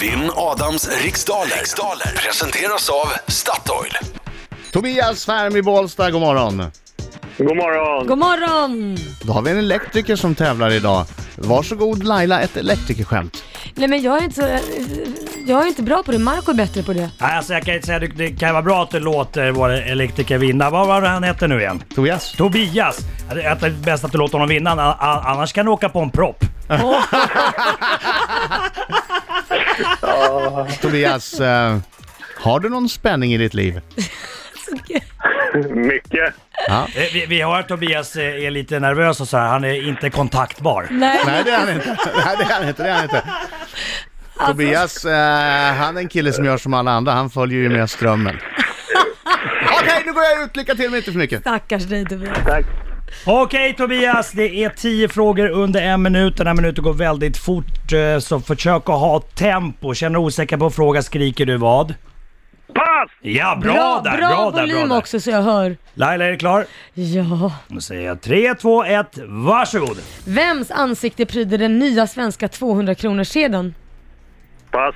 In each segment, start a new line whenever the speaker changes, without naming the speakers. Vinn Adams riksdaler. riksdaler presenteras av Statoil.
Tobias Färm i Bålsta, god morgon.
God morgon!
God morgon!
Då har vi en elektriker som tävlar idag. Varsågod Laila, ett elektrikerskämt.
Nej men jag är inte så... Jag är inte bra på det. Marco är bättre på det.
Nej, alltså jag kan inte säga, det- det kan vara bra att du låter vår elektriker vinna. Vad var det han hette nu igen?
Tobias?
Tobias! Ja, Det det är bäst att du låter honom vinna, a- a- annars kan du åka på en propp. Eh,
Tobias, eh, har du någon spänning i ditt liv?
Mycket.
Eh, Vi, vi hör att Tobias eh, är lite nervös och så här. han är inte kontaktbar.
Nej,
Nej, det är han inte. Nej, det är han inte. Det är han inte.
alltså,
Tobias, eh, han är en kille som gör som alla andra. Han följer ju med strömmen. Okej, nu går jag ut. Lycka till, men inte för mycket.
stackars dig Tobias.
Tack.
Okej Tobias, det är 10 frågor under en minut. Den här minuten går väldigt fort, eh, så försök att ha tempo. Känner du osäker på en fråga skriker du vad?
Pass!
Ja, bra,
Bra,
där!
bra,
bra där,
volym
bra där.
också så jag hör.
Laila, är du klar?
Ja.
Nu säger jag 3, 2, 1, varsågod!
Vems ansikte pryder den nya svenska 200 kronor sedan?
Pass.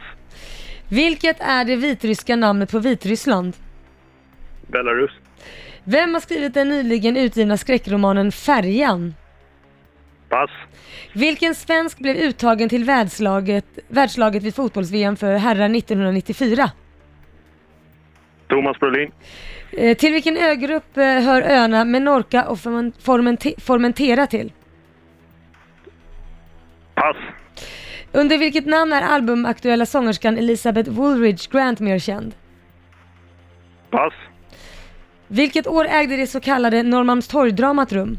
Vilket är det vitryska namnet på Vitryssland?
Belarus.
Vem har skrivit den nyligen utgivna skräckromanen Färjan?
Pass.
Vilken svensk blev uttagen till världslaget, världslaget vid fotbolls-VM för herrar 1994?
Thomas Brolin.
Eh, till vilken ögrupp eh, hör öarna Menorca och Formen- Formente- Formentera till?
Pass.
Under vilket namn är albumaktuella sångerskan Elizabeth Woolridge Grant mer känd?
Pass.
Vilket år ägde det så kallade Norrmalmstorg-dramat rum?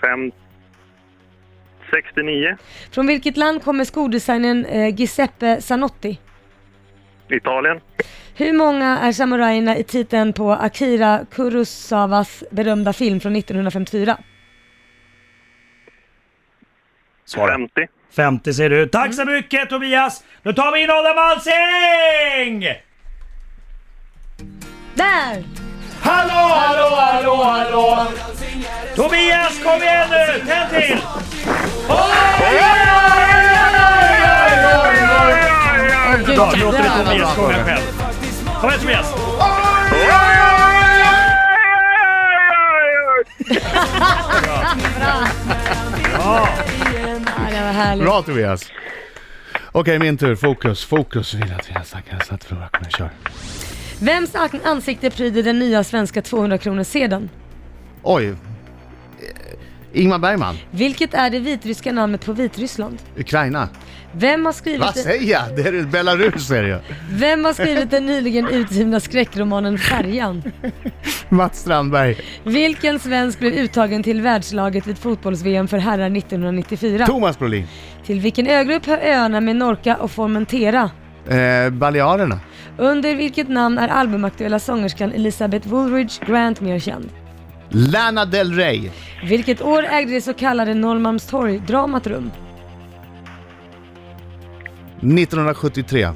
5... 69.
Från vilket land kommer skodesignern eh, Giuseppe Zanotti?
Italien.
Hur många är samurajerna i titeln på Akira Kurosawas berömda film från 1954?
Svara.
50.
50 säger du. Tack så mycket Tobias! Nu tar vi in Adam Alsing!
Där!
Hallå, hallå, hallå, hallå! Tobias, kom igen nu! Tänd till! Oj, oj, oj, oj, oj, oj!
Åh, gud,
Bra, nu låter vi
jävlar.
Tobias sjunga själv. Kom igen Tobias!
Ja, det var härligt.
Bra Tobias. Okej, min tur. Fokus, fokus. Vill att vi har snackat så att förlora. Kom igen, kör.
Vems an- ansikte pryder den nya svenska 200 kronor sedan?
Oj. Eh, Ingmar Bergman,
Vilket är det vitryska namnet på Vitryssland?
Ukraina.
Vem har skrivit...
Vad säger jag? Det är Belarus är det ju.
Vem har skrivit den nyligen utgivna skräckromanen Färjan?
Mats Strandberg.
Vilken svensk blev uttagen till världslaget vid fotbolls-VM för herrar 1994?
Thomas Brolin.
Till vilken ögrupp hör öarna Menorca och Formentera?
Eh, Balearerna.
Under vilket namn är albumaktuella sångerskan Elizabeth Woolridge Grant mer känd?
Lana Del Rey.
Vilket år ägde det så kallade Norrmalmstorg-dramat rum?
1973.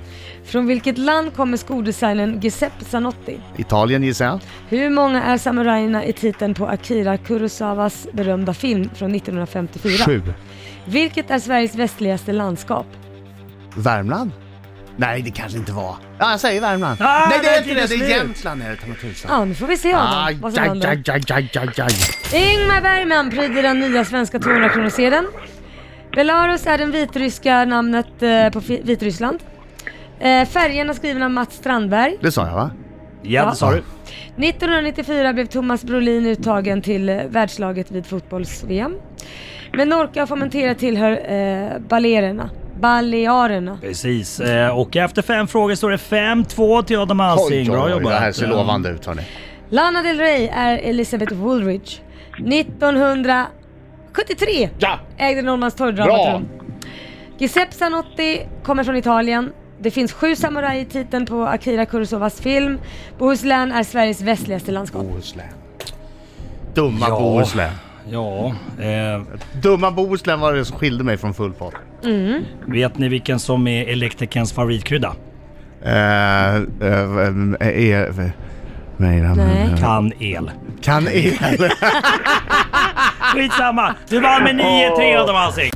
Från vilket land kommer skodesignern Giuseppe Zanotti?
Italien gissar jag.
Hur många är samurajerna i titeln på Akira Kurosawas berömda film från 1954?
Sju.
Vilket är Sveriges västligaste landskap?
Värmland? Nej, det kanske inte var. Ja, jag säger Värmland.
Ah,
Nej, det
där
är inte
tiden
det. Det
är
är
slut.
Jämtland är det, ta mig tusan.
Ja, nu får vi se Adam,
Aj,
vad som
aj,
händer.
aj, aj, aj, aj, aj.
Ingmar Bergman pryder den nya svenska 200 kronorssedeln. Belarus är det vitryska namnet eh, på Fi- Vitryssland. Eh, färgerna skriven av Mats Strandberg.
Det sa jag va?
Ja, det sa du.
1994 blev Thomas Brolin uttagen till eh, världslaget vid fotbolls-VM. Menorca och Formentera tillhör eh, balererna. Balearerna.
Precis, Eh, och efter fem frågor står det 5-2 till Adam Alsing. Bra jobbat.
Det här ser lovande ut hörni.
Lana Del Rey är Elizabeth Woolridge. 1973
Ja!
ägde
Bra!
Norrmalmstorg-dramat rum. Giuseppe Zanotti kommer från Italien. Det finns sju samurajer i titeln på Akira Kurosawas film. Bohuslän är Sveriges västligaste landskap.
Bohuslän. Dumma
Ja.
Bohuslän.
Ja, eh,
Dumma Bohuslän var det som skilde mig från full pott.
vet ni vilken som är elektrikerns favoritkrydda?
Eh, eh, eh, eh,
Nej.
Nej.
Kan el.
Kan el.
Skitsamma! Du vann med 9-3 Adam Alsing.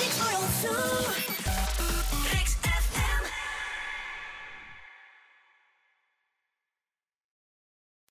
Riks to